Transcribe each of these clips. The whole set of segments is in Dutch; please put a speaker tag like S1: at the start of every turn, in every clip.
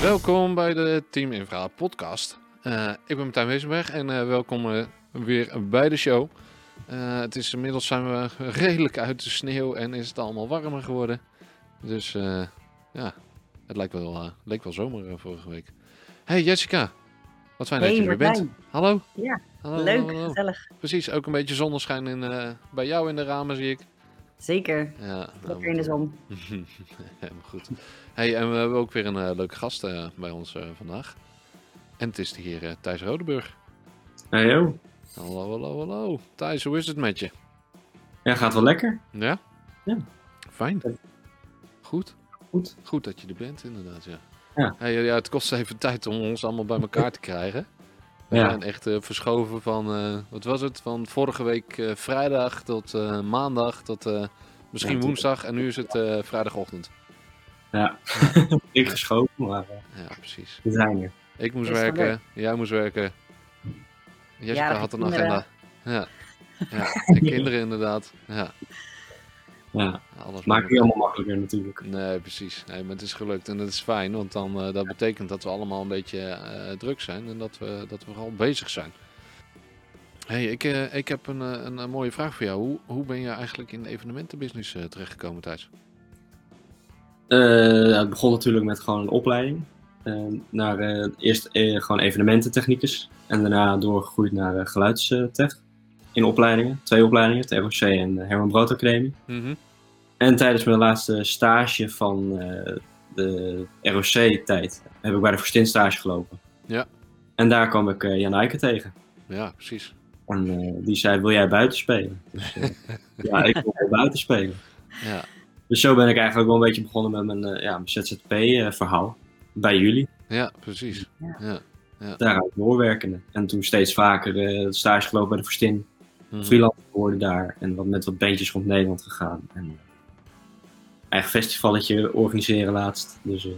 S1: Welkom bij de Team Infra podcast. Eh, ik ben Martijn Wezenberg en eh, welkom eh, weer bij de show. Eh, het is inmiddels zijn we redelijk uit de sneeuw en is het allemaal warmer geworden. Dus eh, ja, het lijkt wel, eh, leek wel zomer eh, vorige week. Hey Jessica, wat fijn dat je er weer bent. Hallo.
S2: Ja,
S1: Hallo,
S2: Leuk,
S1: hallo, hallo.
S2: gezellig.
S1: Precies, ook een beetje zonneschijn in, eh, bij jou in de ramen zie ik.
S2: Zeker.
S1: Ja, nou,
S2: Lekker in de
S1: moet-
S2: zon.
S1: Helemaal goed. Hey, en we hebben ook weer een eh, leuke gast eh, bij ons eh, vandaag. En het is de heer eh, Thijs Rodeburg.
S3: Hey yo.
S1: Hallo, hallo, hallo. Thijs, hoe is het met je?
S3: Ja, gaat wel lekker.
S1: Ja?
S3: Ja.
S1: Fijn.
S3: Ja.
S1: Goed.
S3: Goed.
S1: Goed dat je er bent, inderdaad, ja.
S3: Ja.
S1: Hey, eh, ja het kost even tijd om ons allemaal bij elkaar te krijgen. We
S3: Ja.
S1: zijn echt eh, verschoven van, eh, wat was het, van vorige week eh, vrijdag tot eh, maandag tot eh, misschien
S3: Ja, tot-
S1: woensdag. En nu is het eh, vrijdagochtend.
S3: Ja. Ik geschoten, maar eh,
S1: Ja, precies.
S3: we zijn er.
S1: Ik moest
S2: Is dat
S1: werken,
S2: leuk?
S1: jij moest werken. Jessica
S2: Jarige
S1: had een
S2: kinderen.
S1: agenda. Ja. ja, en kinderen inderdaad. Ja,
S3: Ja.
S1: alles
S3: Maakt het
S1: maar-
S3: allemaal makkelijker natuurlijk.
S1: Nee, precies. Nee, maar het is gelukt en dat is fijn, want dan, eh, dat betekent dat we allemaal een beetje eh, druk zijn en dat we, dat we al bezig zijn. hey, ik, eh, ik heb een, eh, een, eh, mooie vraag voor jou. Hoe, hoe ben je eigenlijk in de evenementenbusiness eh, terechtgekomen, Thijs?
S3: Eh, het begon natuurlijk met gewoon een opleiding. Eh, naar eh, eerst eh, gewoon evenemententechnicus. En daarna doorgegroeid naar eh, geluidstech. In opleidingen. Twee opleidingen. De ROC en de Herman Brood Academie.
S1: Mhm.
S3: En tijdens mijn laatste stage van eh, de ROC-tijd heb ik bij de Verstin stage gelopen.
S1: Ja.
S3: En daar kwam ik eh, Jan Eiken tegen.
S1: Ja, precies.
S3: En eh, die zei, wil jij buiten spelen? Dus, eh, ja, ik wil wel buiten spelen.
S1: Ja,
S3: Dus zo ben ik eigenlijk wel een beetje begonnen met mijn, eh, ja, mijn ZZP-verhaal. eh, bij jullie,
S1: ja precies.
S2: Ja.
S1: Ja.
S3: daaruit doorwerkende. En toen steeds vaker eh, stage gelopen bij de Verstin.
S1: Mhm.
S3: Freelancer geworden daar. En wat, met wat bandjes rond Nederland gegaan. En eh, eigen festivalletje organiseren laatst. Dus eh,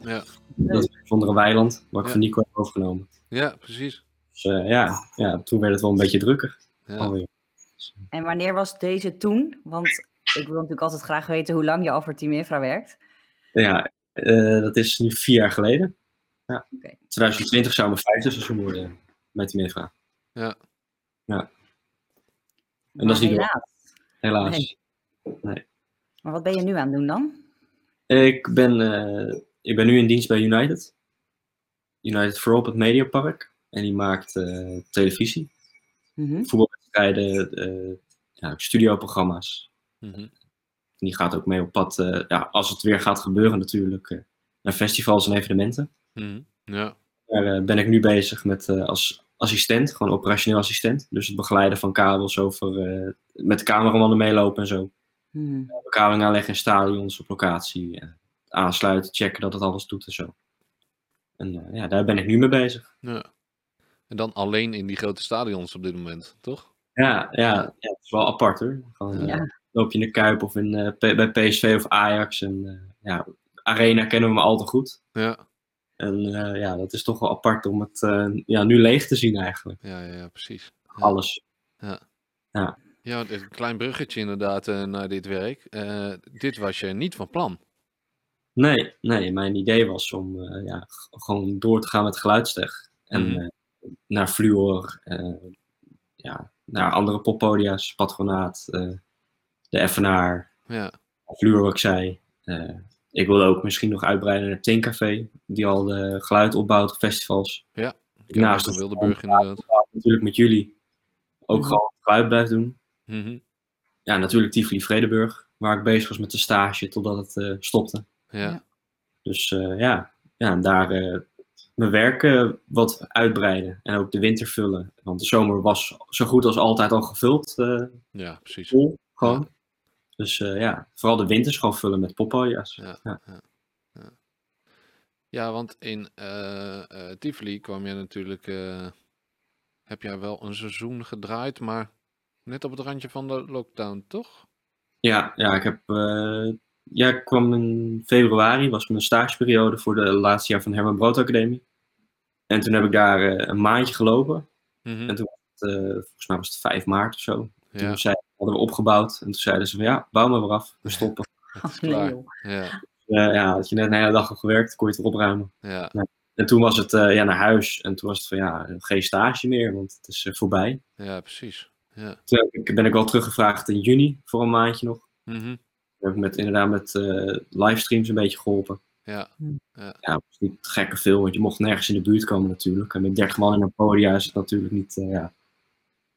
S1: Ja.
S3: dat is zonder een weiland, waar ik
S1: Ja.
S3: van Nico heb overgenomen.
S1: ja, precies.
S3: Dus eh, ja, ja, toen werd het wel een beetje drukker.
S1: Ja.
S3: alweer.
S2: En wanneer was deze toen? Want ik wil natuurlijk altijd graag weten hoe lang je al voor Team Infra werkt.
S3: Ja, eh, dat is nu vier jaar geleden. Ja.
S2: Oké.
S3: 2020 zou mijn 50 seizoen worden met die infra. dat
S2: Maar
S3: is niet
S2: helaas.
S3: Helaas.
S2: Nee. Maar wat ben je nu aan het doen dan?
S3: Ik, ben, eh, ik ben nu in dienst bij United. United for All op het Mediapark. En die maakt eh, televisie,
S2: Mhm.
S3: voetbalwedstrijden, eh ja, studioprogramma's.
S1: Mhm.
S3: En die gaat ook mee op pad, eh, ja, als het weer gaat gebeuren natuurlijk, eh, naar festivals en evenementen.
S1: Mhm. Ja.
S3: Daar eh, ben ik nu bezig met eh, als assistent, gewoon operationeel assistent. Dus het begeleiden van kabels over, eh, met cameramannen meelopen en zo.
S2: Mhm.
S3: Bekaling aanleggen in stadions op locatie. eh, aansluiten, checken dat het alles doet en zo. En eh, ja, daar ben ik nu mee bezig.
S1: Ja. En dan alleen in die grote stadions op dit moment, toch?
S3: Ja, ja, ja het is wel apart hoor. Gewoon, eh,
S2: Ja.
S3: Loop je in de Kuip of in, eh, P- bij PSV of Ajax. En eh, ja, Arena kennen we maar al te goed.
S1: Ja,
S3: En eh, ja, dat is toch wel apart om het eh, ja, nu leeg te zien eigenlijk.
S1: ja, ja, ja precies. Ja.
S3: Alles.
S1: Ja, want een klein bruggetje inderdaad eh, naar dit werk. Eh, dit was je niet van plan.
S3: Nee, nee, mijn idee was om eh, ja, g- gewoon door te gaan met geluidstech. En
S1: Mhm.
S3: eh, naar Fluor, eh, ja, naar andere poppodia's, Patronaat, eh, de FNR,
S1: Ja,
S3: Fluor wat ik zei. Eh, ik wilde ook misschien nog uitbreiden naar Tincafé, die al de geluid opbouwt op festivals.
S1: ik heb
S3: Naast
S1: van
S3: het-
S1: Wildeburg inderdaad.
S3: Natuurlijk met jullie ook
S2: Mhm.
S3: gewoon geluid blijft doen.
S1: Mhm.
S3: Ja, natuurlijk Tivoli Vredeburg, waar ik bezig was met de stage totdat het eh, stopte.
S1: Ja,
S3: Dus eh, ja. ja, en daar eh, mijn werk eh, wat uitbreiden en ook de winter vullen. Want de zomer was zo goed als altijd al gevuld, eh,
S1: ja, precies.
S3: vol gewoon. Dus eh, ja, vooral de winters gewoon vullen met poppojas.
S1: Ja, ja.
S3: Ja.
S1: ja. Ja, want in eh, eh, Tivoli kwam je natuurlijk... eh, heb jij wel een seizoen gedraaid, maar net op het randje van de lockdown, toch?
S3: Ja, ja, ik heb, eh, ja, ik kwam in februari, was mijn stageperiode voor de laatste jaar van Herman Brood Academie. En toen heb ik daar eh, een maandje gelopen.
S1: Mhm.
S3: En toen was het, eh, volgens mij was het 5 maart of zo.
S1: Ja,
S3: Toen zei, hadden we opgebouwd en toen zeiden ze van ja, bouw maar weer af, we stoppen.
S1: het is
S2: Nee,
S1: klaar.
S2: joh.
S1: Ja,
S3: eh, ja, had je net een hele dag al gewerkt, kon je het opruimen.
S1: Ja,
S3: En toen was het eh, ja, naar huis. En toen was het van ja, geen stage meer, want het is eh, voorbij.
S1: ja precies.
S3: Toen heb ik- ben ik wel teruggevraagd in juni voor een maandje nog.
S1: Mhm.
S3: Toen heb ik met, inderdaad met eh, livestreams een beetje geholpen.
S1: Ja,
S3: Ja, het was niet gekke veel, want je mocht nergens in de buurt komen natuurlijk. En met 30 man in een podium is het natuurlijk niet, eh, ja,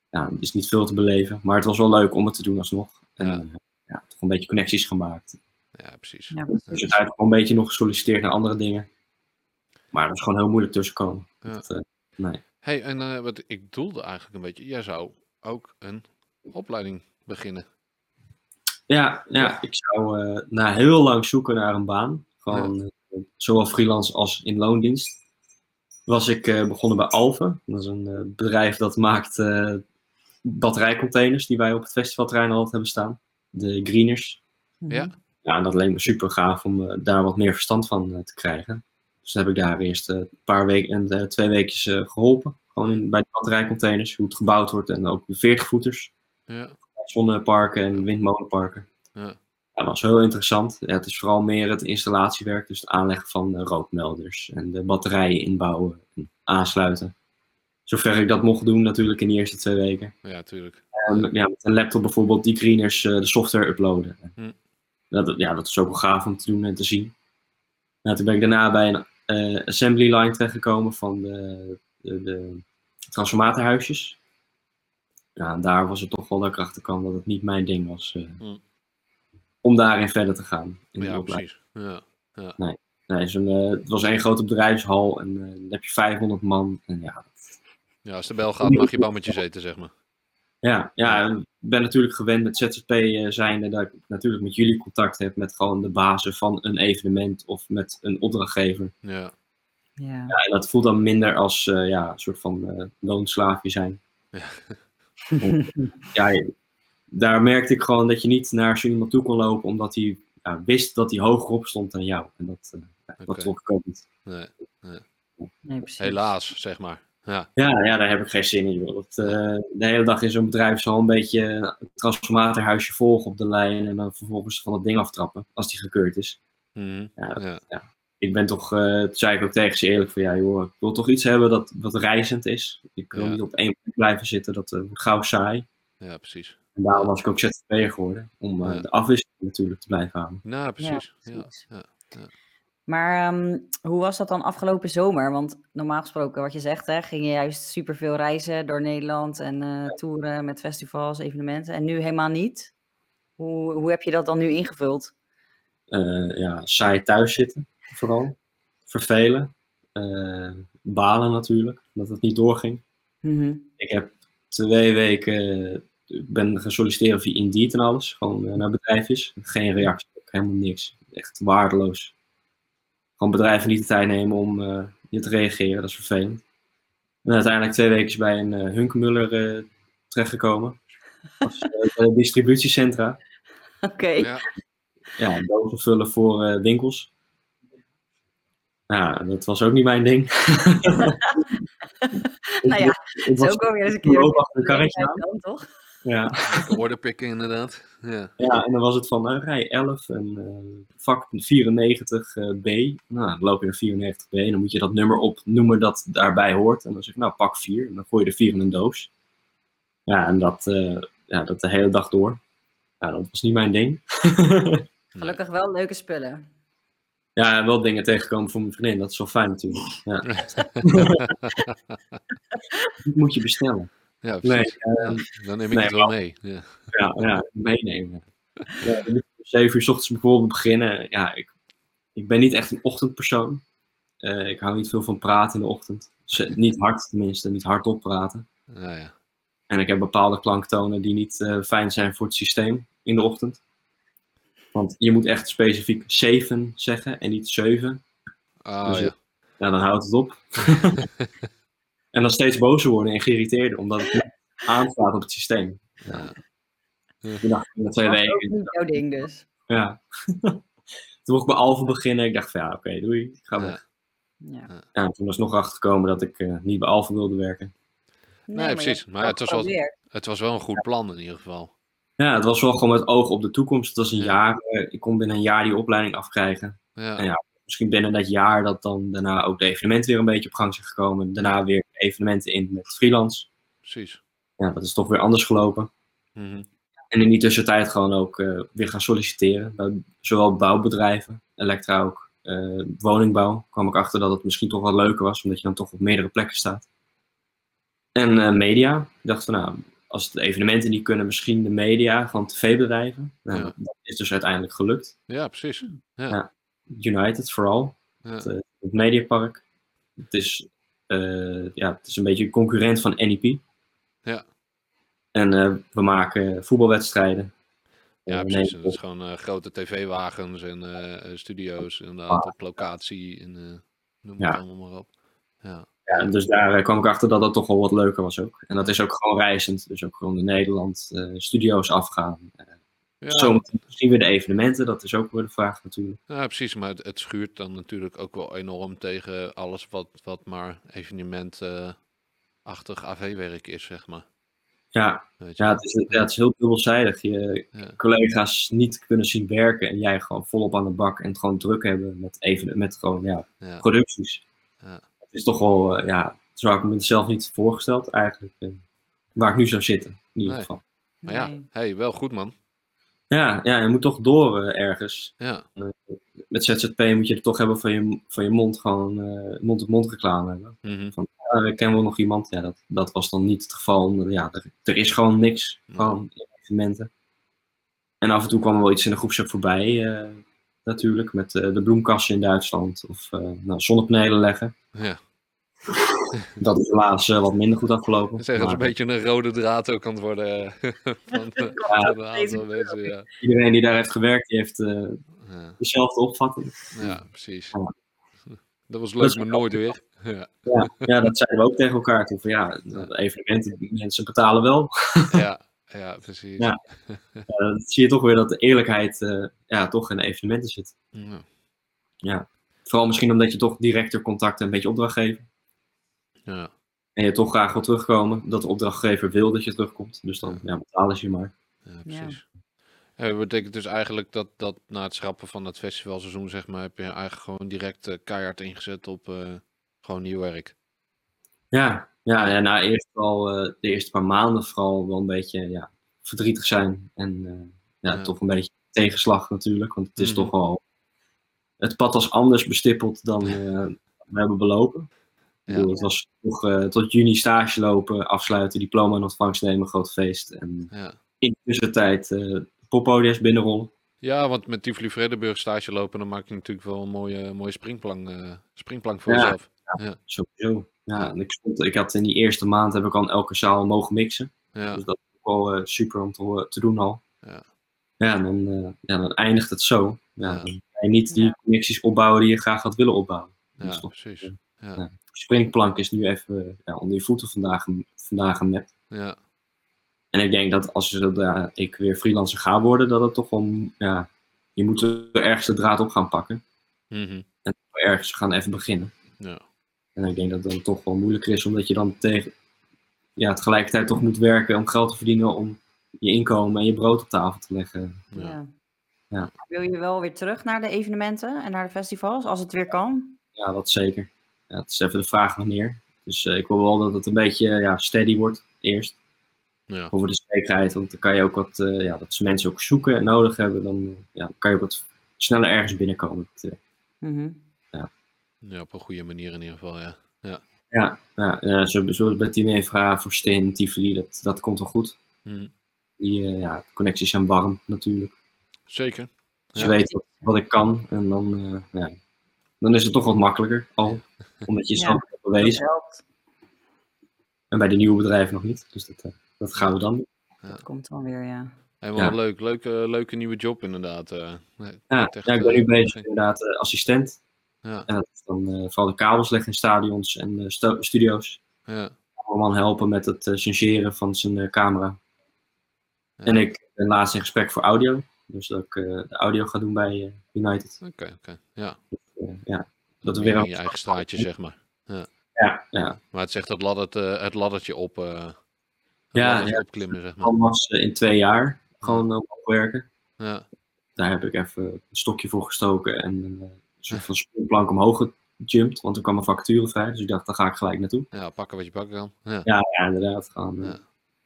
S3: ja, het is niet veel te beleven. Maar het was wel leuk om het te doen alsnog. En
S1: Ja.
S3: ja, ja toch een beetje connecties gemaakt.
S1: ja precies.
S2: Ja,
S3: Dus uiteindelijk wel een beetje nog gesolliciteerd naar andere dingen. Maar dat is gewoon heel moeilijk tussenkomen.
S1: Ja.
S3: Dat, eh, nee.
S1: Hey, en eh, wat ik doelde eigenlijk een beetje, jij zou ook een opleiding beginnen.
S3: Ja, ja, ik zou eh, na heel lang zoeken naar een baan, gewoon eh, zowel freelance als in loondienst, was ik eh, begonnen bij Alve. Dat is een eh, bedrijf dat maakt eh, batterijcontainers die wij op het festivalterrein altijd hebben staan. De greeners.
S2: Mhm.
S1: Ja.
S3: Ja, en dat leek me super gaaf om eh, daar wat meer verstand van eh, te krijgen. Dus dan heb ik daar eerst eh, een paar weken en eh, twee weekjes eh, geholpen. Gewoon in, bij de batterijcontainers, hoe het gebouwd wordt en ook de 40 voeters
S1: Ja,
S3: zonneparken en windmolenparken.
S1: Ja.
S3: Ja, dat was heel interessant. Ja, het is vooral meer het installatiewerk, dus het aanleggen van eh, rookmelders en de batterijen inbouwen en aansluiten. Zover ik dat mocht doen natuurlijk in de eerste twee weken.
S1: ja, tuurlijk.
S3: En, ja, met een laptop bijvoorbeeld die greeners eh, de software uploaden.
S1: Hm.
S3: Dat, ja, dat is ook wel gaaf om te doen en te zien. Nou, toen ben ik daarna bij een eh, assembly line terechtgekomen van de, de, de transformatorhuisjes. Ja, en daar was het toch wel dat ik achter kwam dat het niet mijn ding was eh,
S1: Hm.
S3: om daarin verder te gaan. In die
S1: Ja,
S3: opleiding.
S1: precies. Ja,
S3: Nee, zo'n, eh, het was één grote bedrijfshal en eh, dan heb je 500 man. En ja,
S1: ja als de bel gaat, mag je bammetjes eten, zeg maar.
S3: Ja, ja, en ik ben natuurlijk gewend met ZZP eh, zijnde dat ik natuurlijk met jullie contact heb met gewoon de bazen van een evenement of met een opdrachtgever.
S1: Ja,
S2: Ja.
S3: Ja, en dat voelt dan minder als eh, ja, een soort van eh, loonslaafje zijn.
S1: Ja.
S3: ja, je- daar merkte ik gewoon dat je niet naar zo iemand toe kon lopen omdat hij ja, wist dat hij hoger op stond dan jou. En dat, eh, ja, dat
S1: Oké.
S3: trok ik ook niet.
S1: nee,
S2: Nee, precies.
S1: helaas, zeg maar. Ja,
S3: Ja, ja, daar heb ik geen zin in. Joh. Dat, eh, de hele dag in zo'n bedrijf zal een beetje een transformatorhuisje volgen op de lijn en dan vervolgens van dat ding aftrappen als die gekeurd is.
S1: Mhm.
S3: Ja.
S1: ja,
S3: Ik ben toch, eh dat zei ik ook tegen ze eerlijk, van ja joh, ik wil toch iets hebben dat, dat reizend is. Ik wil
S1: Ja.
S3: niet op één plek blijven zitten, dat eh, wordt gauw saai.
S1: ja, precies.
S3: En daarom was ik ook ZZP'er geworden, om eh,
S1: Ja.
S3: de afwisseling natuurlijk te blijven houden.
S1: Nou, precies. Ja,
S2: precies.
S1: ja.
S2: Maar ehm, hoe was dat dan afgelopen zomer? Want normaal gesproken, wat je zegt, hè, ging je juist superveel reizen door Nederland en eh toeren met festivals, evenementen. En nu helemaal niet. Hoe, hoe heb je dat dan nu ingevuld?
S3: Eh, ja, saai thuis zitten, vooral. Vervelen. Eh, balen natuurlijk, dat het niet doorging.
S2: Mhm.
S3: Ik heb twee weken eh, ik ben gaan solliciteren via Indeed en alles. Gewoon eh, naar bedrijfjes. Geen reactie, ook helemaal niks. Echt waardeloos. Gewoon bedrijven niet de tijd nemen om eh, je te reageren, dat is vervelend. En uiteindelijk twee weken bij een eh Hunkmuller eh, terechtgekomen. Als eh, bij de distributiecentra.
S2: Oké.
S1: Ja,
S3: Ja, dozen vullen voor eh, winkels. Nou, dat was ook niet mijn ding.
S2: Nou ja,
S3: het
S2: Zo dus
S3: was
S2: ook alweer eens een
S3: een
S2: keer.
S3: loop achter een karretje aan.
S2: Dan, toch?
S3: Ja.
S1: order picken inderdaad. Ja,
S3: Ja, en dan was het van eh, rij 11 en eh, vak 94b. nou, dan loop je naar 94b en dan moet je dat nummer opnoemen dat daarbij hoort. En dan zeg ik, nou, pak 4. En dan gooi je de 4 in een doos. Ja, en dat, eh, ja, dat de hele dag door. Ja, dat was niet mijn ding.
S2: Gelukkig wel leuke spullen.
S3: ja, wel dingen tegenkomen voor mijn vriendin. Dat is wel fijn natuurlijk. Ja. Dit moet je bestellen.
S1: ja
S3: Nee,
S1: precies. Ja, dan neem ik
S3: nee,
S1: het wel mee. Ja,
S3: Ja, ja meenemen. Ja, dan moet je om 7 uur 's ochtends bijvoorbeeld beginnen. Ja, ik, ik ben niet echt een ochtendpersoon. Eh, ik hou niet veel van praten in de ochtend. Z- niet hard tenminste, niet hardop praten.
S1: nou ja.
S3: En ik heb bepaalde klanktonen die niet eh, fijn zijn voor het systeem in de ochtend. Want je moet echt specifiek 7 zeggen en niet 7.
S1: Oh
S3: Dus
S1: ja,
S3: Ja, dan houdt het op. en dan steeds bozer worden en geïrriteerder, omdat het niet aanslaat op het systeem. Ja. Ik dacht, in de twee
S2: Dat is
S3: weken.
S2: ook niet jouw ding dus.
S3: Ja. toen mocht ik bij Alphen beginnen. Ik dacht van ja, oké, doei. Ik ga
S1: Ja.
S3: weg.
S2: Ja.
S3: Ja, toen was nog achtergekomen dat ik eh, niet bij Alphen wilde werken.
S1: Nee, precies. Maar het was wel- het was wel een goed plan in ieder geval.
S3: Ja, het was wel gewoon met oog op de toekomst. Het was een
S1: Ja.
S3: jaar. eh, ik kon binnen een jaar die opleiding afkrijgen.
S1: Ja.
S3: En ja. Misschien binnen dat jaar dat dan daarna ook de evenementen weer een beetje op gang zijn gekomen. Daarna weer evenementen in met freelance.
S1: precies.
S3: Ja, dat is toch weer anders gelopen.
S1: Mhm.
S3: En in die tussentijd gewoon ook eh, weer gaan solliciteren. Bij zowel bouwbedrijven, Elektra ook, eh, woningbouw. kwam ik achter dat het misschien toch wat leuker was, omdat je dan toch op meerdere plekken staat. En eh, media. Ik dacht van nou, als de evenementen niet kunnen, misschien de media van tv-bedrijven. Nou,
S1: Ja.
S3: Dat is dus uiteindelijk gelukt.
S1: Ja, precies.
S3: Hm. United vooral,
S1: Ja.
S3: het, eh, het Mediapark. Het is, eh, ja, het is een beetje een concurrent van NEP.
S1: Ja.
S3: En eh, we maken voetbalwedstrijden.
S1: Ja,
S3: Eh,
S1: precies.
S3: nee,
S1: En dat is gewoon eh, grote tv-wagens en eh, eh, studio's inderdaad op locatie en eh, noem
S3: Ja.
S1: het allemaal maar op. Ja,
S3: Ja, dus daar eh, kwam ik achter dat dat toch wel wat leuker was ook. En dat is ook gewoon reizend. Dus ook gewoon in Nederland eh, studio's afgaan. Eh,
S1: ja,
S3: Zometeen zien we de evenementen. Dat is ook weer de vraag natuurlijk.
S1: ja precies. Maar het, het schuurt dan natuurlijk ook wel enorm tegen alles wat, wat maar eh, evenementachtig AV-werk is, zeg maar.
S3: Ja,
S1: Weet je?
S3: ja, het, is, ja het is heel dubbelzijdig. Je
S1: Ja.
S3: collega's niet kunnen zien werken. En jij gewoon volop aan de bak. En het gewoon druk hebben met, even, met gewoon, ja,
S1: Ja.
S3: producties.
S1: Ja.
S3: Het is toch wel, eh, ja, zo had ik me het zelf niet voorgesteld eigenlijk. eh, waar ik nu zou zitten, in ieder
S1: Nee.
S3: geval.
S1: Maar ja,
S2: Nee.
S1: hey, wel goed man.
S3: Ja, ja, je moet toch door eh, ergens.
S1: Ja,
S3: Met ZZP moet je het toch hebben van je, van je mond, gewoon eh, mond-op-mond reclame hebben.
S1: Mhm.
S3: Ja, ik ken wel nog iemand, ja, dat, dat was dan niet het geval. omdat, Ja, er, er is gewoon niks,
S1: Nee.
S3: gewoon evenementen. En af en toe kwam er wel iets in de groepsapp voorbij, eh, natuurlijk, met eh, de bloemkasten in Duitsland. Of eh, nou, zonnepanelen leggen.
S1: ja.
S3: Dat is helaas eh, wat minder goed afgelopen.
S1: Zeg, dat is een
S3: Maar
S1: beetje een rode draad ook aan het worden eh, van, eh, van een aantal mensen. Ja.
S3: Iedereen die daar heeft gewerkt, die heeft eh,
S1: Ja.
S3: dezelfde opvatting.
S1: ja, precies.
S3: Ja.
S1: Dat was
S3: Dat
S1: leuk,
S3: is
S1: maar nooit weer. Ja.
S3: Ja, dat zeiden we ook tegen elkaar. Toen van ja, eh, evenementen, mensen betalen wel.
S1: Ja, ja precies.
S3: Ja. Ja, dan zie je toch weer dat de eerlijkheid eh, ja, toch in de evenementen zit.
S1: Ja.
S3: Vooral misschien omdat je toch directer contacten een beetje opdracht geeft.
S1: Ja.
S3: En je toch graag wil terugkomen. Dat de opdrachtgever wil dat je terugkomt. Dus dan ja, betalen ze je maar.
S1: Ja, precies. Ja. dat betekent dus eigenlijk dat, dat na het schrappen van het festivalseizoen, zeg maar, heb je eigenlijk gewoon direct eh, keihard ingezet op eh, gewoon nieuw werk.
S3: Ja, ja, ja na eerst wel, eh, de eerste paar maanden vooral wel een beetje ja, verdrietig zijn. En eh, ja,
S1: Ja.
S3: toch een beetje tegenslag natuurlijk. Want het is
S1: Mhm.
S3: toch wel... Het pad was anders bestippeld dan eh, we hebben belopen. Ik
S1: Ja.
S3: bedoel, het was toch eh, tot juni stage lopen, afsluiten, diploma in ontvangst nemen, groot feest. En
S1: Ja,
S3: in de tussentijd eh poppodia's binnenrollen.
S1: ja want met Tivoli Vredenburg stage lopen, dan maak je natuurlijk wel een mooie, mooie springplank, eh, springplank voor
S3: Ja.
S1: jezelf.
S3: Sowieso. Ja, en ik, stond, ik had in die eerste maand heb ik al in elke zaal mogen mixen.
S1: Ja,
S3: Dus dat is ook wel eh, super om te, horen- te doen al.
S1: Ja.
S3: Ja, en dan, eh, ja, dan eindigt het zo. Ja,
S1: Ja.
S3: Dan kan je niet die
S2: Ja.
S3: connecties opbouwen die je graag had willen opbouwen.
S1: ja
S3: Dus toch,
S1: precies.
S3: ja. springplank is nu even eh, ja, onder je voeten vandaag, vandaag een map.
S1: Ja,
S3: En ik denk dat als zodra ik weer freelancer ga worden, dat het toch wel... Ja, je moet er ergens de draad op gaan pakken.
S1: Mhm.
S3: Ergens gaan even beginnen.
S1: Ja.
S3: En ik denk dat het dan toch wel moeilijker is, omdat je dan tegen... Ja, tegelijkertijd toch moet werken om geld te verdienen om je inkomen en je brood op tafel te leggen.
S1: ja.
S2: Ja.
S3: Ja.
S2: Wil je wel weer terug naar de evenementen en naar de festivals, als het weer kan?
S3: Ja, dat zeker. Ja, het is even de vraag wanneer. Dus eh, ik wil wel dat het een beetje eh, ja, steady wordt eerst.
S1: Ja.
S3: Over de zekerheid, want dan kan je ook wat, eh, ja, dat ze mensen ook zoeken en nodig hebben, dan eh, ja, dan kan je ook wat sneller ergens binnenkomen. Het, eh,
S2: Mhm.
S1: ja, op een goede manier in ieder geval, ja.
S3: ja, ja, eh, zo, zo bij Team Infra, voor Stin, Tivoli, dat, dat komt wel goed.
S1: Mhm.
S3: Die eh, ja, connecties zijn warm natuurlijk.
S1: Zeker.
S3: Ze
S1: Ja.
S3: weten wat, wat ik kan en dan, eh, ja, dan is het toch wat makkelijker al, omdat je
S2: Ja.
S3: zelf hebt
S2: Dat
S3: bewezen.
S2: helpt.
S3: En bij de nieuwe bedrijven nog niet, dus dat, eh, dat gaan we dan doen.
S2: Dat komt dan weer, ja.
S1: En wel
S3: Ja.
S1: leuk. Leuke, leuke nieuwe job inderdaad. eh. Nee,
S3: Ja,
S1: echt,
S3: ja, ik ben
S1: eh,
S3: nu bezig
S1: geen-
S3: inderdaad eh, assistent.
S1: Ja.
S3: En dat is dan eh, vooral de kabels leggen in stadions en eh, sto- studio's.
S1: Ja,
S3: Allemaal helpen met het eh changeren van zijn eh, camera.
S1: Ja.
S3: En ik ben laatst in gesprek voor audio. Dus dat ik eh, de audio ga doen bij eh, United.
S1: oké, oké. Ja,
S3: Eh, ja. Dat er
S1: meer
S3: weer
S1: in
S3: een-
S1: je eigen straatje, zeg maar.
S3: Ja, ja.
S1: Maar het zegt dat laddert, eh, het laddertje op. eh, het
S3: Ja,
S1: laddertje
S3: ja.
S1: opklimmen, zeg maar.
S3: Dan was eh, in twee jaar gewoon eh, opwerken.
S1: Ja,
S3: daar heb ik even een stokje voor gestoken en eh, een soort van springplank omhoog gejumpt, want er kwam een vacature vrij. Dus ik dacht, daar ga ik gelijk naartoe.
S1: Ja, pakken wat je pakken kan. Ja.
S3: Ja, ja inderdaad. Gewoon, eh,
S1: Ja.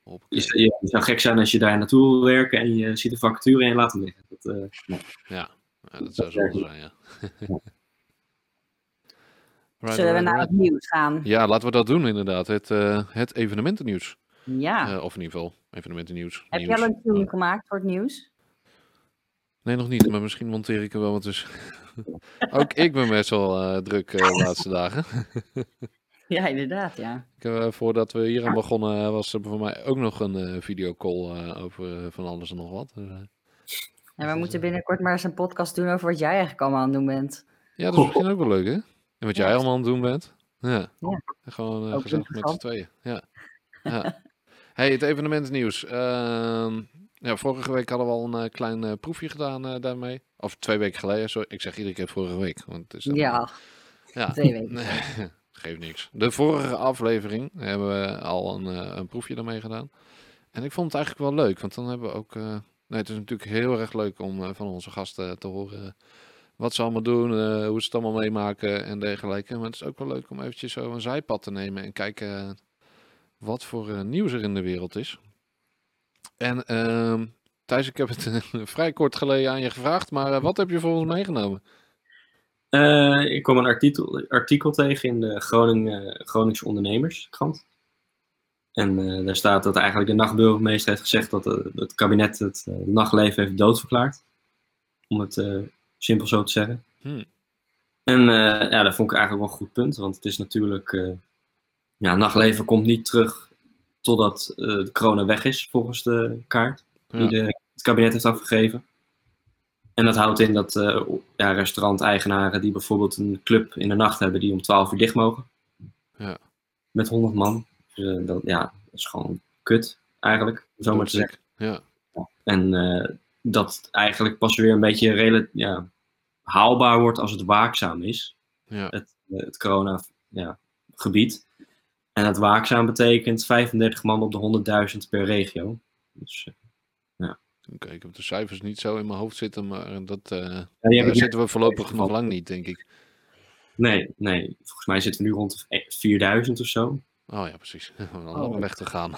S1: Hoppakee.
S3: je, je- het zou gek zijn als je daar naartoe wil werken en je ziet de vacature en je laat hem liggen. Dat, eh,
S1: Ja, dat zou zonde zijn, ja. Right,
S2: Zullen we
S1: right,
S2: naar
S1: right.
S2: het nieuws gaan?
S1: Ja, laten we dat doen inderdaad. Het, eh, het evenementennieuws.
S2: Ja.
S1: Eh, of in ieder geval evenementennieuws.
S2: Heb
S1: nieuws.
S2: jij al een tune gemaakt voor het nieuws?
S1: Nee, nog niet. Maar misschien monteer ik er wel wat tussen. Ook ik ben best wel eh, druk eh, de laatste dagen.
S2: Ja, inderdaad, ja.
S1: Ik, heb, eh, voordat we hier aan begonnen eh, was er voor mij ook nog een eh, videocall eh, over eh, van alles en nog wat. Dus, eh,
S2: En we moeten binnenkort maar eens een podcast doen over wat jij eigenlijk allemaal aan het doen bent.
S1: ja, dat is misschien ook wel leuk, hè? En wat jij allemaal aan het doen bent. Ja.
S2: Ja.
S1: Gewoon eh,
S2: Ook
S1: gezellig met z'n
S2: interessant.
S1: tweeën. Ja. ja. hey, het evenementennieuws. Ehm, ja, vorige week hadden we al een eh, klein eh, proefje gedaan eh, daarmee. Of twee weken geleden. Sorry, ik zeg iedere keer vorige week. Want het is dan-
S2: Ja,
S1: ja.
S2: twee weken.
S1: Nee, geeft niks. De vorige aflevering hebben we al een, eh, een proefje daarmee gedaan. En ik vond het eigenlijk wel leuk, want dan hebben we ook... eh, Nee, het is natuurlijk heel erg leuk om eh, van onze gasten te horen eh, wat ze allemaal doen, eh, hoe ze het allemaal meemaken en dergelijke. Maar het is ook wel leuk om eventjes zo een zijpad te nemen en kijken eh, wat voor eh, nieuws er in de wereld is. En ehm Thijs, ik heb het eh, vrij kort geleden aan je gevraagd, maar eh, wat heb je voor ons meegenomen?
S3: Eh, ik kwam een artikel, artikel tegen in de Groningen, Groningse Ondernemerskrant. En eh, daar staat dat eigenlijk de nachtburgemeester heeft gezegd dat eh, het kabinet het eh, nachtleven heeft doodverklaard. Om het eh, simpel zo te zeggen.
S1: Hmm.
S3: En eh, ja, dat vond ik eigenlijk wel een goed punt. Want het is natuurlijk... eh, ja, nachtleven komt niet terug totdat eh, de corona weg is volgens de kaart die
S1: Ja.
S3: de, het kabinet heeft afgegeven. En dat houdt in dat eh, ja, restauranteigenaren die bijvoorbeeld een club in de nacht hebben die om 12 uur dicht mogen.
S1: Ja.
S3: Met 100 man. Dus, eh, dat, ja, dat is gewoon kut eigenlijk, om zo maar te zeggen.
S1: Ja,
S3: En eh, dat het eigenlijk pas weer een beetje rela- ja, haalbaar wordt als het waakzaam is,
S1: ja.
S3: het, eh, het corona-gebied. en dat waakzaam betekent 35 man op de 100.000 per regio. Dus, eh,
S1: Oké, ik heb de cijfers niet zo in mijn hoofd zitten, maar dat, eh,
S3: ja, die heb
S1: daar
S3: ik
S1: zitten we voorlopig nog
S3: gevallen.
S1: lang niet, denk ik.
S3: Nee, nee. Volgens mij zitten we nu rond de 4000 of zo.
S1: Oh ja, precies. We hebben nog een weg te gaan.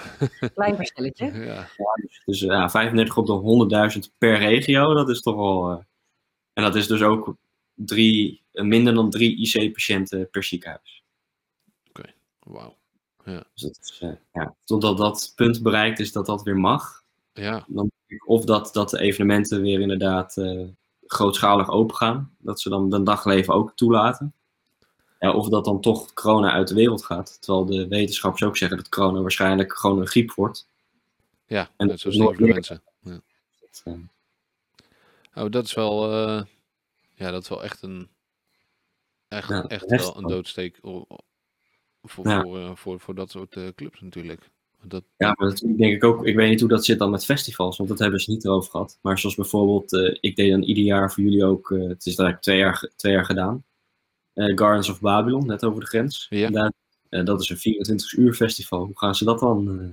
S2: Klein verschilletje.
S1: Ja,
S3: Dus eh, ja, 35 op de 100.000 per regio, dat is toch wel. eh, en dat is dus ook drie, eh, minder dan drie IC-patiënten per ziekenhuis.
S1: wauw.
S3: Dus dat is, eh, ja, totdat dat punt bereikt is dat dat weer mag.
S1: Ja,
S3: Of dat, dat de evenementen weer inderdaad eh, grootschalig open gaan. Dat ze dan de dagleven ook toelaten. Ja, of dat dan toch corona uit de wereld gaat. Terwijl de wetenschappers ook zeggen dat corona waarschijnlijk gewoon een griep wordt.
S1: ja,
S3: En
S1: net zoals
S3: nog-
S1: de mensen.
S3: Dat, eh,
S1: Oh, dat is wel, eh, ja, dat is wel echt een, echt,
S3: Ja,
S1: echt
S3: echt
S1: wel een
S3: wel.
S1: doodsteek o- o- voor,
S3: Ja.
S1: voor, eh, voor, voor dat soort eh, clubs natuurlijk. Want Dat,
S3: Ja, maar dat denk ik ook. Ik weet niet hoe dat zit dan met festivals, want dat hebben ze niet erover gehad. Maar zoals bijvoorbeeld, eh, ik deed dan ieder jaar voor jullie ook, eh, het is daar eigenlijk twee jaar, ge- twee jaar gedaan. Eh, Gardens of Babylon, net over de grens.
S1: Ja.
S3: Daar- eh, dat is een 24 uur festival. Hoe gaan ze dat dan? eh,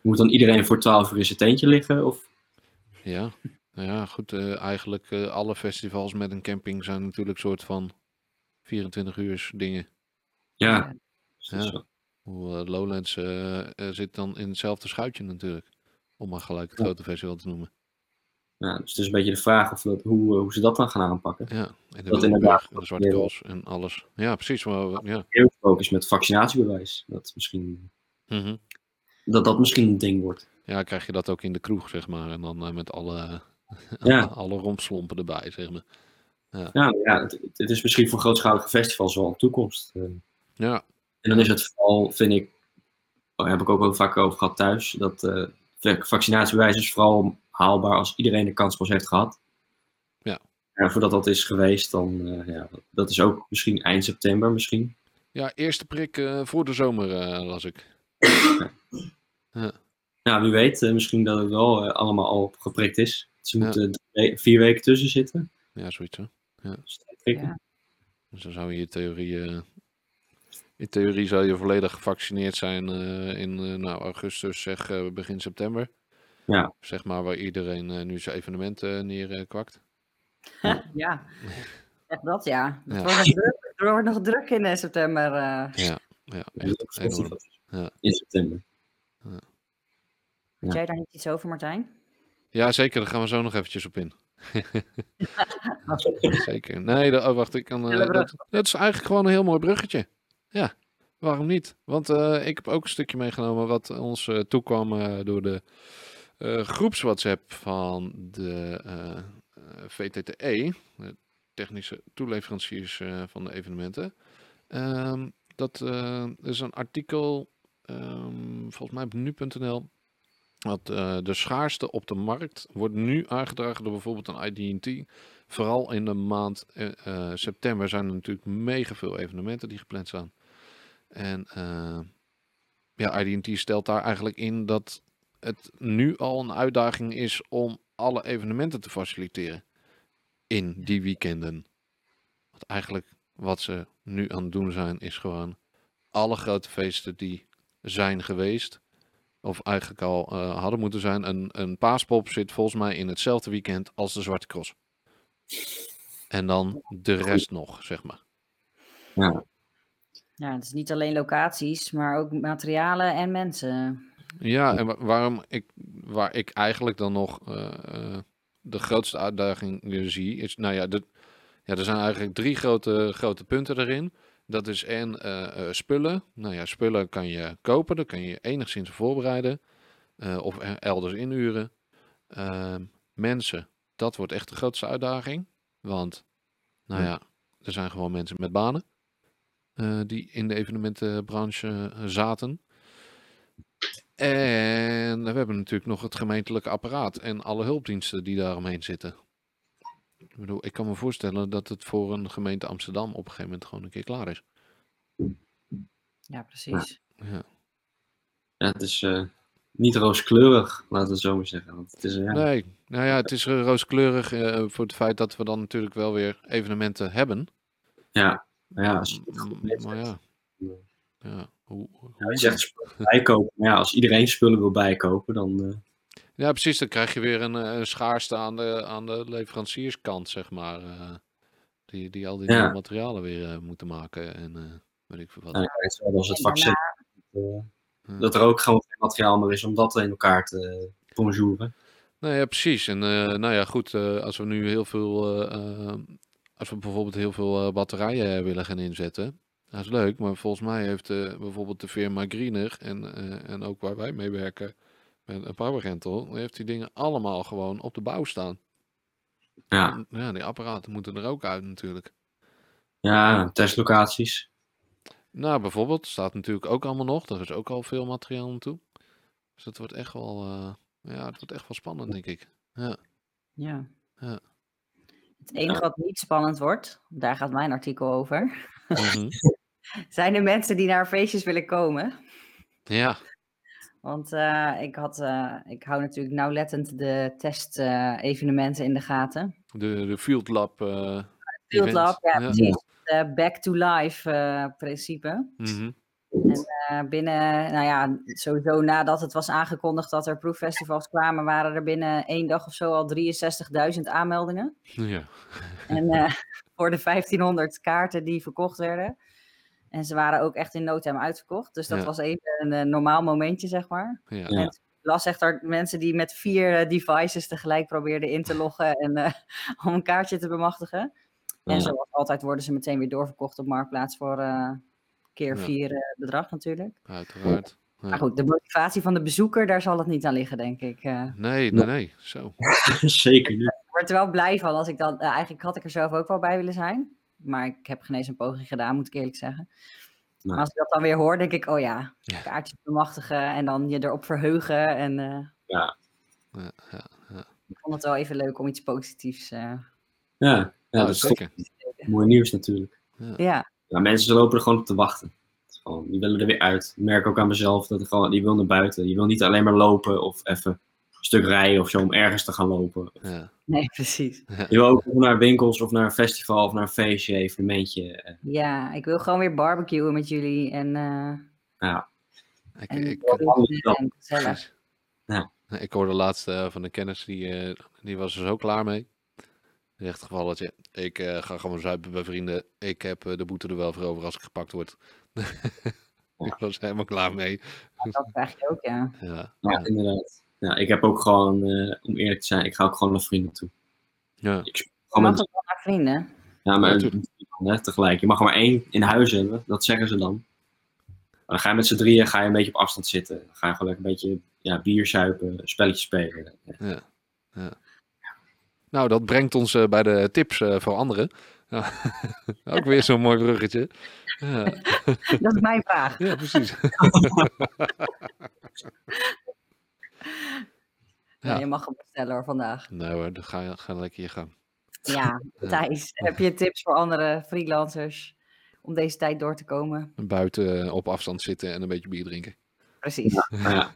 S3: moet dan iedereen voor 12 uur in zijn tentje liggen? Of,
S1: ja, nou ja, goed, eh, eigenlijk eh, alle festivals met een camping zijn natuurlijk soort van 24 uur dingen.
S3: ja. Dus
S1: Ja. Hoe, eh, Lowlands eh, eh, zit dan in hetzelfde schuitje natuurlijk. Om maar gelijk het
S3: Ja.
S1: grote festival te noemen.
S3: Ja, dus het is een beetje de vraag of dat, hoe, eh, hoe ze dat dan gaan aanpakken.
S1: Ja, en de
S3: Dat
S1: Wildenburg
S3: inderdaad,
S1: en de
S3: dat
S1: Zwarte
S3: weer-
S1: Cross en alles. Ja, precies. Maar, we- ja.
S3: Heel focus met vaccinatiebewijs. Dat, misschien,
S1: Mhm.
S3: dat dat misschien een ding wordt.
S1: ja, krijg je dat ook in de kroeg, zeg maar. En dan eh, met alle,
S3: Ja.
S1: alle rompslompen erbij, zeg maar.
S3: Ja, maar ja het, het- het is misschien voor grootschalige festivals wel een toekomst. Eh,
S1: Ja,
S3: En dan is het vooral, vind ik, daar heb ik ook heel vaak over gehad thuis, dat eh, vac- vaccinatiebewijs is vooral haalbaar als iedereen de kans pas heeft gehad.
S1: Ja.
S3: En voordat dat is geweest, dan, eh, ja, dat is ook misschien eind september misschien.
S1: ja eerste prik eh, voor de zomer eh, las ik.
S3: Nou, wie weet, eh, misschien dat het wel eh, allemaal al geprikt is. Ze
S1: Ja.
S3: moeten drie we- vier weken tussen zitten.
S1: Ja, zoiets hoor.
S3: Dus dat prikken.
S2: Ja.
S1: Dus dan zou je in theorie... eh, in theorie zou je volledig gevaccineerd zijn eh, in eh, nou, augustus, zeg eh, begin september.
S3: Ja.
S1: Zeg maar waar iedereen eh, nu zijn evenementen neerkwakt.
S2: Ja, echt dat ja.
S1: Ja.
S2: Het wordt nog druk, er wordt nog druk in eh, september. eh.
S1: Ja,
S3: Op
S1: echt enorm.
S3: Spotify.
S1: Ja.
S3: In september.
S2: Weet
S3: Ja.
S2: jij daar niet iets over, Martijn?
S1: Ja, zeker. Daar gaan we zo nog eventjes op in. zeker. Nee, dat, oh, wacht. Ik kan, eh,
S2: Hele brug.
S1: dat, dat is eigenlijk gewoon een heel mooi bruggetje. Ja, waarom niet? Want eh, ik heb ook een stukje meegenomen wat ons eh, toekwam eh, door de eh groeps-WhatsApp van de eh, eh, VTTE. E, De technische toeleveranciers eh, van de evenementen. Ehm, dat eh, is een artikel, ehm, volgens mij op nu.nl. Dat eh, de schaarste op de markt wordt nu aangedragen door bijvoorbeeld een IDT. Vooral in de maand eh, eh, september zijn er natuurlijk mega veel evenementen die gepland staan. En eh, ja, IDT stelt daar eigenlijk in dat het nu al een uitdaging is om alle evenementen te faciliteren in die weekenden. Want eigenlijk wat ze nu aan het doen zijn is gewoon alle grote feesten die zijn geweest of eigenlijk al eh, hadden moeten zijn. Een, een paaspop zit volgens mij in hetzelfde weekend als de Zwarte Cross. En dan de rest nog, zeg maar.
S2: Ja, het is niet alleen locaties, maar ook materialen en mensen.
S1: Ja, en wa- waarom ik, waar ik eigenlijk dan nog eh, eh, de grootste uitdaging eh, zie, is, nou ja, de, ja, er zijn eigenlijk drie grote, grote punten erin. Dat is en eh, eh, spullen. Nou ja, spullen kan je kopen, daar kan je enigszins op voorbereiden eh, of er- elders inhuren. Ehm, mensen, dat wordt echt de grootste uitdaging, want nou ja, er zijn gewoon mensen met banen eh, die in de evenementenbranche eh, zaten. En we hebben natuurlijk nog het gemeentelijke apparaat en alle hulpdiensten die daaromheen zitten. Ik bedoel, ik kan me voorstellen dat het voor een gemeente Amsterdam op een gegeven moment gewoon een keer klaar is.
S2: Ja, precies.
S1: Ja.
S3: Ja, het is eh, niet rooskleurig, laten we het zo maar zeggen. Want het is, eh, ja,
S1: Nee, nou ja, het is eh, rooskleurig eh, voor het feit dat we dan natuurlijk wel weer evenementen hebben.
S3: ja, maar ja, als je het goed
S1: Mm,
S3: neerzet.
S1: maar ja. Ja, hoe, hoe
S3: Ja, je zegt spullen bijkopen. Maar ja, als iedereen spullen wil bijkopen, dan... eh,
S1: Ja, precies. Dan krijg je weer een, eh, een schaarste aan de, aan de leverancierskant, zeg maar. eh, die, die al die
S3: Ja.
S1: nieuwe materialen weer eh, moeten maken en eh, weet ik veel wat.
S3: nou ja, hetzelfde als het
S2: En
S3: vaccin. eh,
S1: Ja.
S3: dat er ook gewoon geen materiaal meer is om dat in elkaar te bonjouren.
S1: Nou ja, precies. En eh, nou ja, goed, eh, als we nu heel veel, eh, eh, als we bijvoorbeeld heel veel eh, batterijen willen gaan inzetten, dat is leuk. Maar volgens mij heeft eh, bijvoorbeeld de firma Greener en, eh, en ook waar wij mee werken met een Powergentel, heeft die dingen allemaal gewoon op de bouw staan.
S3: Ja,
S1: En, ja, die apparaten moeten er ook uit natuurlijk.
S3: ja testlocaties.
S1: Nou, bijvoorbeeld, staat natuurlijk ook allemaal nog. Er is ook al veel materiaal aan toe. Dus dat wordt echt wel, eh, ja, het wordt echt wel spannend, denk ik.
S2: Ja.
S1: Ja.
S2: Het enige wat niet spannend wordt, daar gaat mijn artikel over,
S1: Mhm.
S2: zijn de mensen die naar feestjes willen komen.
S1: Ja,
S2: Want eh, ik, had, eh, ik hou natuurlijk nauwlettend de testevenementen in de gaten.
S1: de, de Field Lab. eh,
S2: Field
S1: event.
S2: Lab, ja,
S1: Ja.
S2: precies. De back to life eh, principe.
S1: Mhm.
S2: Eh, binnen, nou ja, sowieso nadat het was aangekondigd dat er proeffestivals kwamen, waren er binnen één dag of zo al 63.000 aanmeldingen.
S1: Ja.
S2: En eh, voor de 1500 kaarten die verkocht werden. En ze waren ook echt in no time uitverkocht. Dus dat
S1: Ja.
S2: was even een eh, normaal momentje, zeg maar.
S1: Ja.
S3: Ja.
S2: Ik las echt er mensen die met vier eh, devices tegelijk probeerden in te loggen en eh, om een kaartje te bemachtigen. En
S3: Ja.
S2: zoals altijd worden ze meteen weer doorverkocht op Marktplaats voor eh, keer
S1: Ja.
S2: vier eh, bedrag natuurlijk.
S1: uiteraard. Ja.
S2: Maar goed, de motivatie van de bezoeker, daar zal het niet aan liggen, denk ik. Eh,
S1: Nee, nee, nee. Zo.
S3: Zeker niet.
S2: ik word er wel blij van als ik dan. eh, eigenlijk had ik er zelf ook wel bij willen zijn. Maar ik heb geen eens een poging gedaan, moet ik eerlijk zeggen.
S3: Nee.
S2: Maar als ik dat dan weer hoor, denk ik, oh ja,
S1: Ja.
S2: kaartjes bemachtigen en dan je erop verheugen. En eh,
S1: Ja, ja.
S2: ik vond het wel even leuk om iets positiefs. eh,
S3: Ja, ja
S1: Nou,
S3: dat is toch
S1: zeker.
S3: mooi nieuws natuurlijk.
S2: ja,
S3: Ja, mensen lopen er gewoon op te wachten. Het is Gewoon, die willen er weer uit. Ik merk ook aan mezelf dat ik gewoon, die wil naar buiten. Die wil niet alleen maar lopen of even een stuk rijden of zo om ergens te gaan lopen.
S1: Ja.
S2: nee, precies.
S3: Je wil ook naar winkels of naar een festival of naar een feestje, evenementje. eh,
S2: Ja, ik wil gewoon weer barbecuen met jullie en, eh
S1: Ik,
S2: en,
S1: ik,
S2: borrelen
S3: dat-
S2: en gezellig.
S1: precies.
S3: Ja.
S1: Ik hoorde laatst eh, van de kennis, die, eh, die was er zo klaar mee. In echt geval dat je, ik eh, ga gewoon zuipen bij vrienden. Ik heb eh, de boete er wel voor over als ik gepakt word. ik was helemaal klaar mee.
S2: Dat krijg je ook, ja.
S1: Ja,
S3: Ja, inderdaad. Ja, ik heb ook gewoon, eh, om eerlijk te zijn, ik ga ook gewoon naar vrienden toe.
S1: ja.
S2: Je
S3: Gewoon
S2: mag
S3: met-
S2: ook wel naar vrienden.
S3: ja, maar
S1: Ja, tuurlijk.
S3: hè, tegelijk. Je mag er maar één in huis hebben, dat zeggen ze dan. Maar dan ga je met z'n drieën ga je een beetje op afstand zitten. Dan ga je gewoon lekker een beetje ja, bier zuipen, spelletjes spelen.
S1: Nou, dat brengt ons eh, bij de tips eh, voor anderen. Ja, ook weer zo'n mooi bruggetje. Ja,
S2: Dat is mijn vraag.
S1: ja precies. Ja.
S2: Ja, je mag hem bestellen hoor, vandaag.
S1: Nou hoor, dan ga, ga lekker je gang.
S2: Ja,
S1: Ja.
S2: Thijs, heb je tips voor andere freelancers om deze tijd door te komen?
S1: Buiten eh, op afstand zitten en een beetje bier drinken.
S2: Precies.
S3: Nou ja.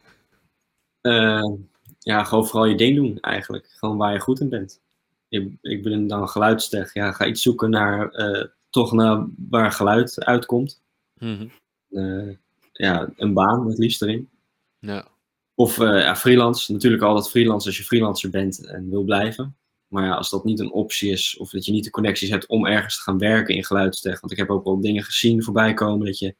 S3: Eh, ja, gewoon vooral je ding doen eigenlijk. Gewoon waar je goed in bent. Ik, ik ben dan geluidstech. Ja, ga iets zoeken naar eh, toch naar waar geluid uitkomt.
S1: Mhm,
S3: Eh, ja, een baan het liefst erin.
S1: Ja,
S3: Of eh, ja, freelance. Natuurlijk altijd freelance als je freelancer bent en wil blijven. Maar ja, als dat niet een optie is of dat je niet de connecties hebt om ergens te gaan werken in geluidstech. Want ik heb ook wel dingen gezien voorbij komen dat je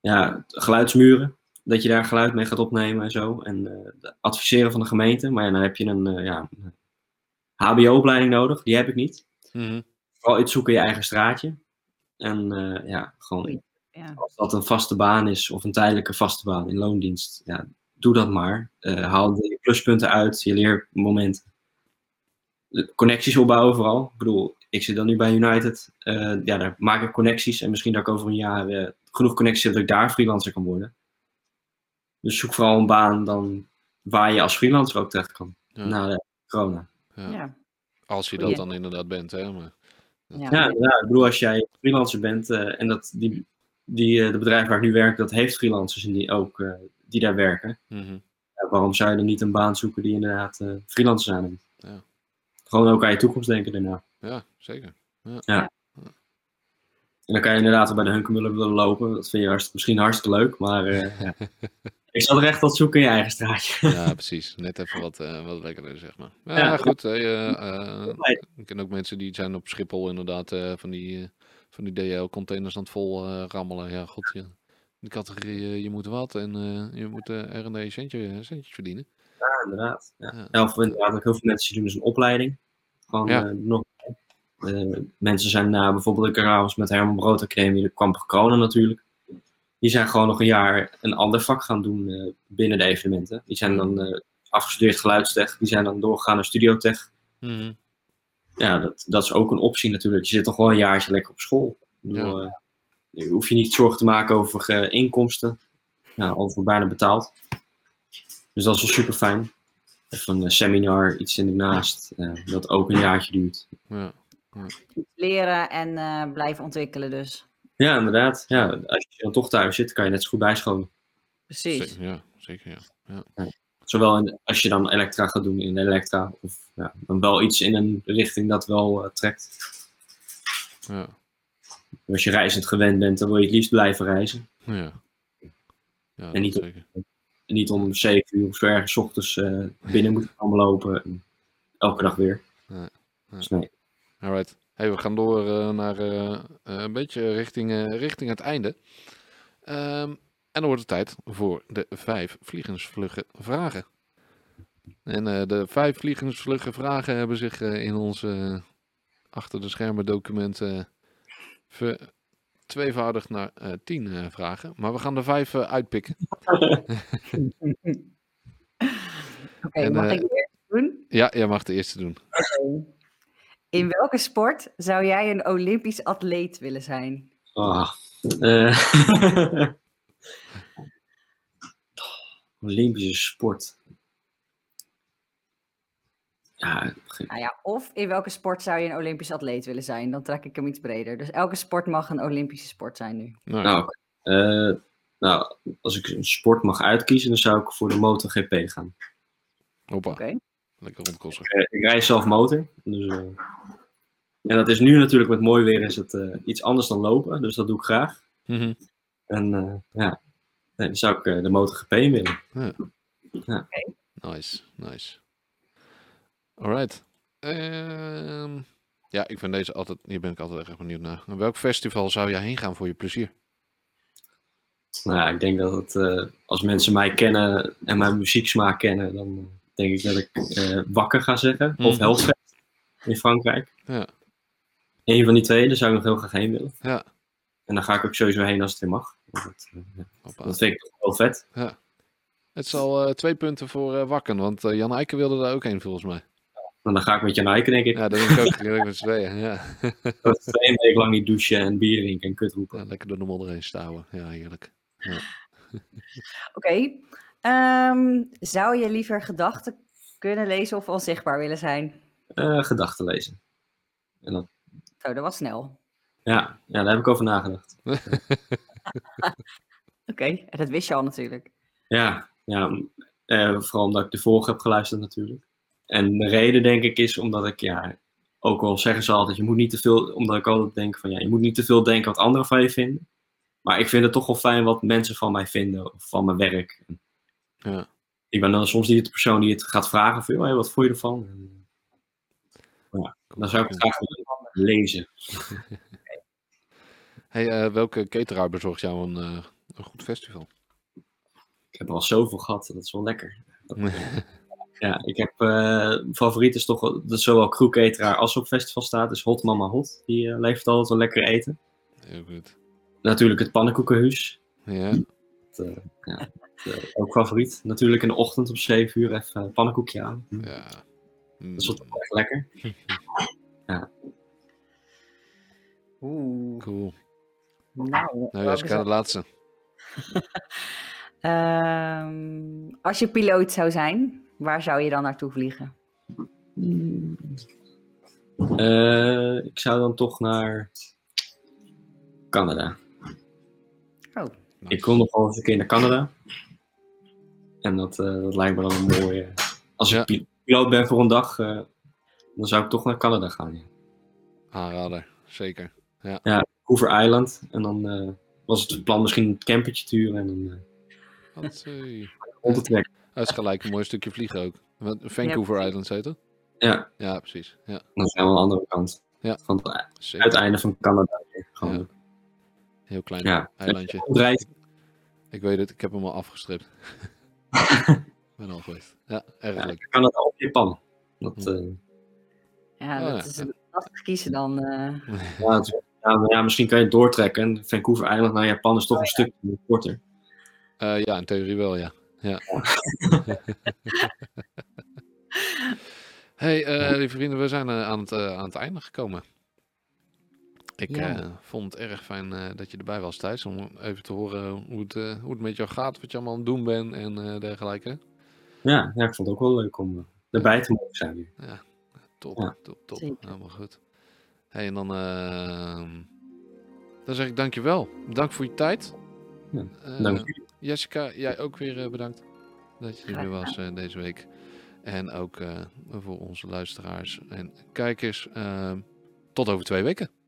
S3: ja, geluidsmuren, dat je daar geluid mee gaat opnemen en zo. En eh, de adviseren van de gemeente. Maar ja, dan heb je een eh, ja, een eh, HBO-opleiding nodig. Die heb ik niet.
S1: Mhm.
S3: Vooral iets zoeken in je eigen straatje. En eh, ja, gewoon
S2: Ja.
S3: als dat een vaste baan is of een tijdelijke vaste baan in loondienst, ja, doe dat maar. Eh, haal de pluspunten uit, je leermomenten. De Connecties opbouwen vooral. Ik bedoel, ik zit dan nu bij United. Eh, ja, daar maak ik connecties en misschien dat ik over een jaar eh, genoeg connecties heb dat ik daar freelancer kan worden. Dus zoek vooral een baan dan waar je als freelancer ook terecht kan.
S1: Ja.
S3: Na de corona.
S1: ja.
S2: Ja.
S1: Als je dat
S2: Goeie.
S1: dan inderdaad bent, hè. Maar,
S2: Ja.
S3: Ja, ja, ik bedoel, als jij freelancer bent eh, en dat die, die, eh, de bedrijf waar ik nu werk, dat heeft freelancers en die ook eh, die daar werken.
S1: Mhm.
S3: Ja, waarom zou je dan niet een baan zoeken die inderdaad eh freelancers aanneemt?
S1: Ja.
S3: Gewoon ook aan je toekomst denken daarna.
S1: Ja, zeker.
S3: En dan kan je inderdaad wel bij de Hunkemullen willen lopen. Dat vind je hartst- misschien hartstikke leuk, maar eh, ja. ik zal er echt wat zoeken in je eigen straatje.
S1: Ja, precies. Net even wat, eh, wat lekkerder, zeg maar. Ja,
S3: Ja.
S1: goed. eh, je, eh, ik ken ook mensen die zijn op Schiphol inderdaad eh, van die, eh, van die DL-containers aan het vol eh, rammelen. Ja, god. Ja. De categorie, eh, je moet wat en eh, je moet eh er en een centje, centjes verdienen.
S3: Ja, inderdaad. Ja.
S1: Ja.
S3: Ja, of inderdaad ook heel veel mensen die doen dus een opleiding. Gewoon
S1: Ja.
S3: eh, nog. eh, mensen zijn na bijvoorbeeld de Carabas met Herman Brood Academie, de kwam Corona natuurlijk. Die zijn gewoon nog een jaar een ander vak gaan doen eh, binnen de evenementen. Die zijn dan eh, afgestudeerd geluidstech, die zijn dan doorgegaan naar studiotech.
S1: Mhm.
S3: Ja, dat, dat is ook een optie natuurlijk. Je zit toch wel een jaartje lekker op school. Ik bedoel, eh, je hoef je niet zorgen te maken over eh, inkomsten. Ja, over bijna betaald. Dus dat is wel super fijn. Of een eh, seminar, iets ernaast, eh, dat ook een jaartje duurt.
S1: Ja.
S2: Leren en eh, blijven ontwikkelen dus.
S3: Ja, inderdaad. Ja, als je dan toch thuis zit, kan je net zo goed bijscholen.
S2: Precies.
S1: Zeker, ja, zeker ja.
S3: Zowel in, als je dan elektra gaat doen in elektra, of ja, dan wel iets in een richting dat wel eh, trekt.
S1: ja.
S3: Als je reizend gewend bent, dan wil je het liefst blijven reizen.
S1: Ja, ja
S3: En niet
S1: dat
S3: op-
S1: zeker.
S3: En niet om 7 uur of zo ergens 's ochtends eh, binnen moeten gaan lopen. En elke dag weer.
S1: Nee, nee.
S3: Dus nee.
S1: Alright. Hey, we gaan door eh, naar eh, eh, een beetje richting, eh, richting het einde. Ehm, en dan wordt het tijd voor de vijf vliegensvlugge vragen. En eh, de vijf vliegensvlugge vragen hebben zich eh, in onze achter de schermen documenten tweevoudig naar eh, tien eh, vragen. Maar we gaan er vijf eh, uitpikken.
S2: Oké,
S1: En,
S2: mag
S1: eh,
S2: ik weer doen?
S1: Ja, jij mag de eerste doen.
S2: In welke sport zou jij een Olympisch atleet willen zijn?
S3: Ah. Eh, Olympische sport. Ja, ge-
S2: Nou ja, of in welke sport zou je een Olympisch atleet willen zijn? Dan trek ik hem iets breder. Dus elke sport mag een Olympische sport zijn nu.
S1: Nou,
S3: nou, oké. Eh, nou, als ik een sport mag uitkiezen, dan zou ik voor de MotoGP gaan.
S1: hoppa.
S2: Oké.
S1: Lekker rondkosten.
S3: Eh, ik rijd zelf motor. Dus, eh, en dat is nu natuurlijk met mooi weer is het eh, iets anders dan lopen. Dus dat doe ik graag.
S1: Mhm.
S3: En eh, ja, nee, dan zou ik eh, de MotoGP in willen.
S1: Nice, nice. Alright. Ehm, Ja, ik vind deze altijd, hier ben ik altijd erg benieuwd naar. Naar welk festival zou jij heen gaan voor je plezier?
S3: Nou ja, ik denk dat het, eh, als mensen mij kennen en mijn muzieksmaak kennen, dan eh, denk ik dat ik eh, Wakker ga zeggen. Of
S1: Mhm.
S3: Hellfest in Frankrijk.
S1: Ja.
S3: Eén van die twee, daar zou ik nog heel graag heen willen.
S1: Ja.
S3: En dan ga ik ook sowieso heen als het weer mag. Want Dat, eh, ja,
S1: Hoppa.
S3: dat vind ik toch wel vet.
S1: Het is al eh, twee punten voor eh Wakken, want eh, Jan Eiken wilde daar ook heen volgens mij.
S3: En dan ga ik met Janaike, denk ik.
S1: Ja, dat denk ik ook. Direct met z'n tweeën. Ja.
S3: Dat is twee weken lang niet douchen en bier drinken en kut roepen.
S1: Ja, lekker door de modder heen stouwen. Ja, heerlijk.
S2: Oké. Ehm, zou je liever gedachten kunnen lezen of onzichtbaar willen zijn?
S3: Eh, gedachten lezen. En dan,
S2: Zo, dat was snel. Oké,
S3: ja, ja, daar heb ik over nagedacht.
S2: en dat wist je al natuurlijk.
S3: Ja, ja m- eh, vooral omdat ik de vorige heb geluisterd natuurlijk. En de reden denk ik is omdat ik, ja, ook al zeggen ze altijd, je moet niet te veel, omdat ik altijd denk van, ja, je moet niet te veel denken wat anderen van je vinden. Maar ik vind het toch wel fijn wat mensen van mij vinden, of van mijn werk.
S1: Ja.
S3: Ik ben dan soms niet de persoon die het gaat vragen van, joh, hey, wat voel je ervan? En, ja, dan zou ik het graag willen lezen.
S1: Hey, eh, welke cateraar bezorgt jou een, eh, een goed festival?
S3: Ik heb er al zoveel gehad, dat is wel lekker. Ja, ik heb eh, mijn favoriet is toch wel- dat zowel crewcateraar als op festival staat, is Hot Mama Hot. Die eh, levert altijd wel lekker eten.
S1: Heel goed.
S3: Natuurlijk het pannenkoekenhuis.
S1: Ja,
S3: Dat, eh, ja, dat, eh, ook favoriet. Natuurlijk in de ochtend om 7 uur even een pannenkoekje aan. Dat
S1: ja.
S3: is wel
S1: Mm,
S3: toch echt lekker.
S2: Oeh.
S1: cool.
S2: Nou,
S1: Nou,
S2: welke
S1: Jessica,
S2: zou-
S1: de laatste.
S2: Ehm, als je piloot zou zijn, waar zou je dan naartoe vliegen?
S3: Eh, ik zou dan toch naar Canada.
S2: Oh,
S1: Nice.
S3: Ik wil nog wel eens een keer naar Canada. En dat, eh, dat lijkt me dan een mooie. Als ik
S1: Ja.
S3: pi- piloot ben voor een dag, eh, dan zou ik toch naar Canada gaan. Ja.
S1: Aanrader, zeker.
S3: Hoover Island. En dan eh, was het plan misschien een campertje te huren en dan eh
S1: Hatsé.
S3: rond te trekken.
S1: Dat is gelijk een mooi stukje vliegen ook. Want Vancouver
S2: precies.
S1: Island, heet het?
S3: Ja,
S1: Ja, precies. Ja,
S3: dan zijn we aan de andere kant.
S1: Ja.
S3: Van het
S1: zeker.
S3: uiteinde van Canada. weer. Gewoon,
S1: Heel klein
S3: ja.
S1: eilandje.
S3: Rondreizen.
S1: Ik weet het, ik heb hem al afgestript. ben al geweest. Ja, erg
S3: Ja.
S1: leuk.
S3: Canada of Japan. Dat, eh,
S2: ja,
S1: Oh, ja,
S2: dat is
S1: ja.
S2: lastig kiezen dan. eh.
S3: ja, het is- ja, maar ja, misschien kan je het doortrekken. En Vancouver Island naar Japan is toch een stuk korter.
S1: Eh, ja, in theorie wel, ja. ja. hey, eh, lieve vrienden, we zijn eh, aan, het, eh, aan het einde gekomen. Ik
S2: Ja.
S1: eh, vond het erg fijn eh, dat je erbij was, Thijs. Om even te horen hoe het, eh, hoe het met jou gaat, wat je allemaal aan het doen bent en eh, dergelijke.
S3: Ja, ja, ik vond het ook wel leuk om eh, erbij te mogen zijn. weer.
S1: Top,
S3: Ja.
S1: top, top.
S2: Zeker.
S1: Helemaal goed. Hey, en dan, eh, dan zeg ik dankjewel. Bedankt voor je tijd.
S3: Ja,
S1: Eh,
S3: Dank jullie.
S1: Jessica, jij ook weer eh, bedankt dat je er weer
S2: Graag
S1: was eh, deze week. En ook eh, voor onze luisteraars en kijkers. eh, ehm, tot over twee weken.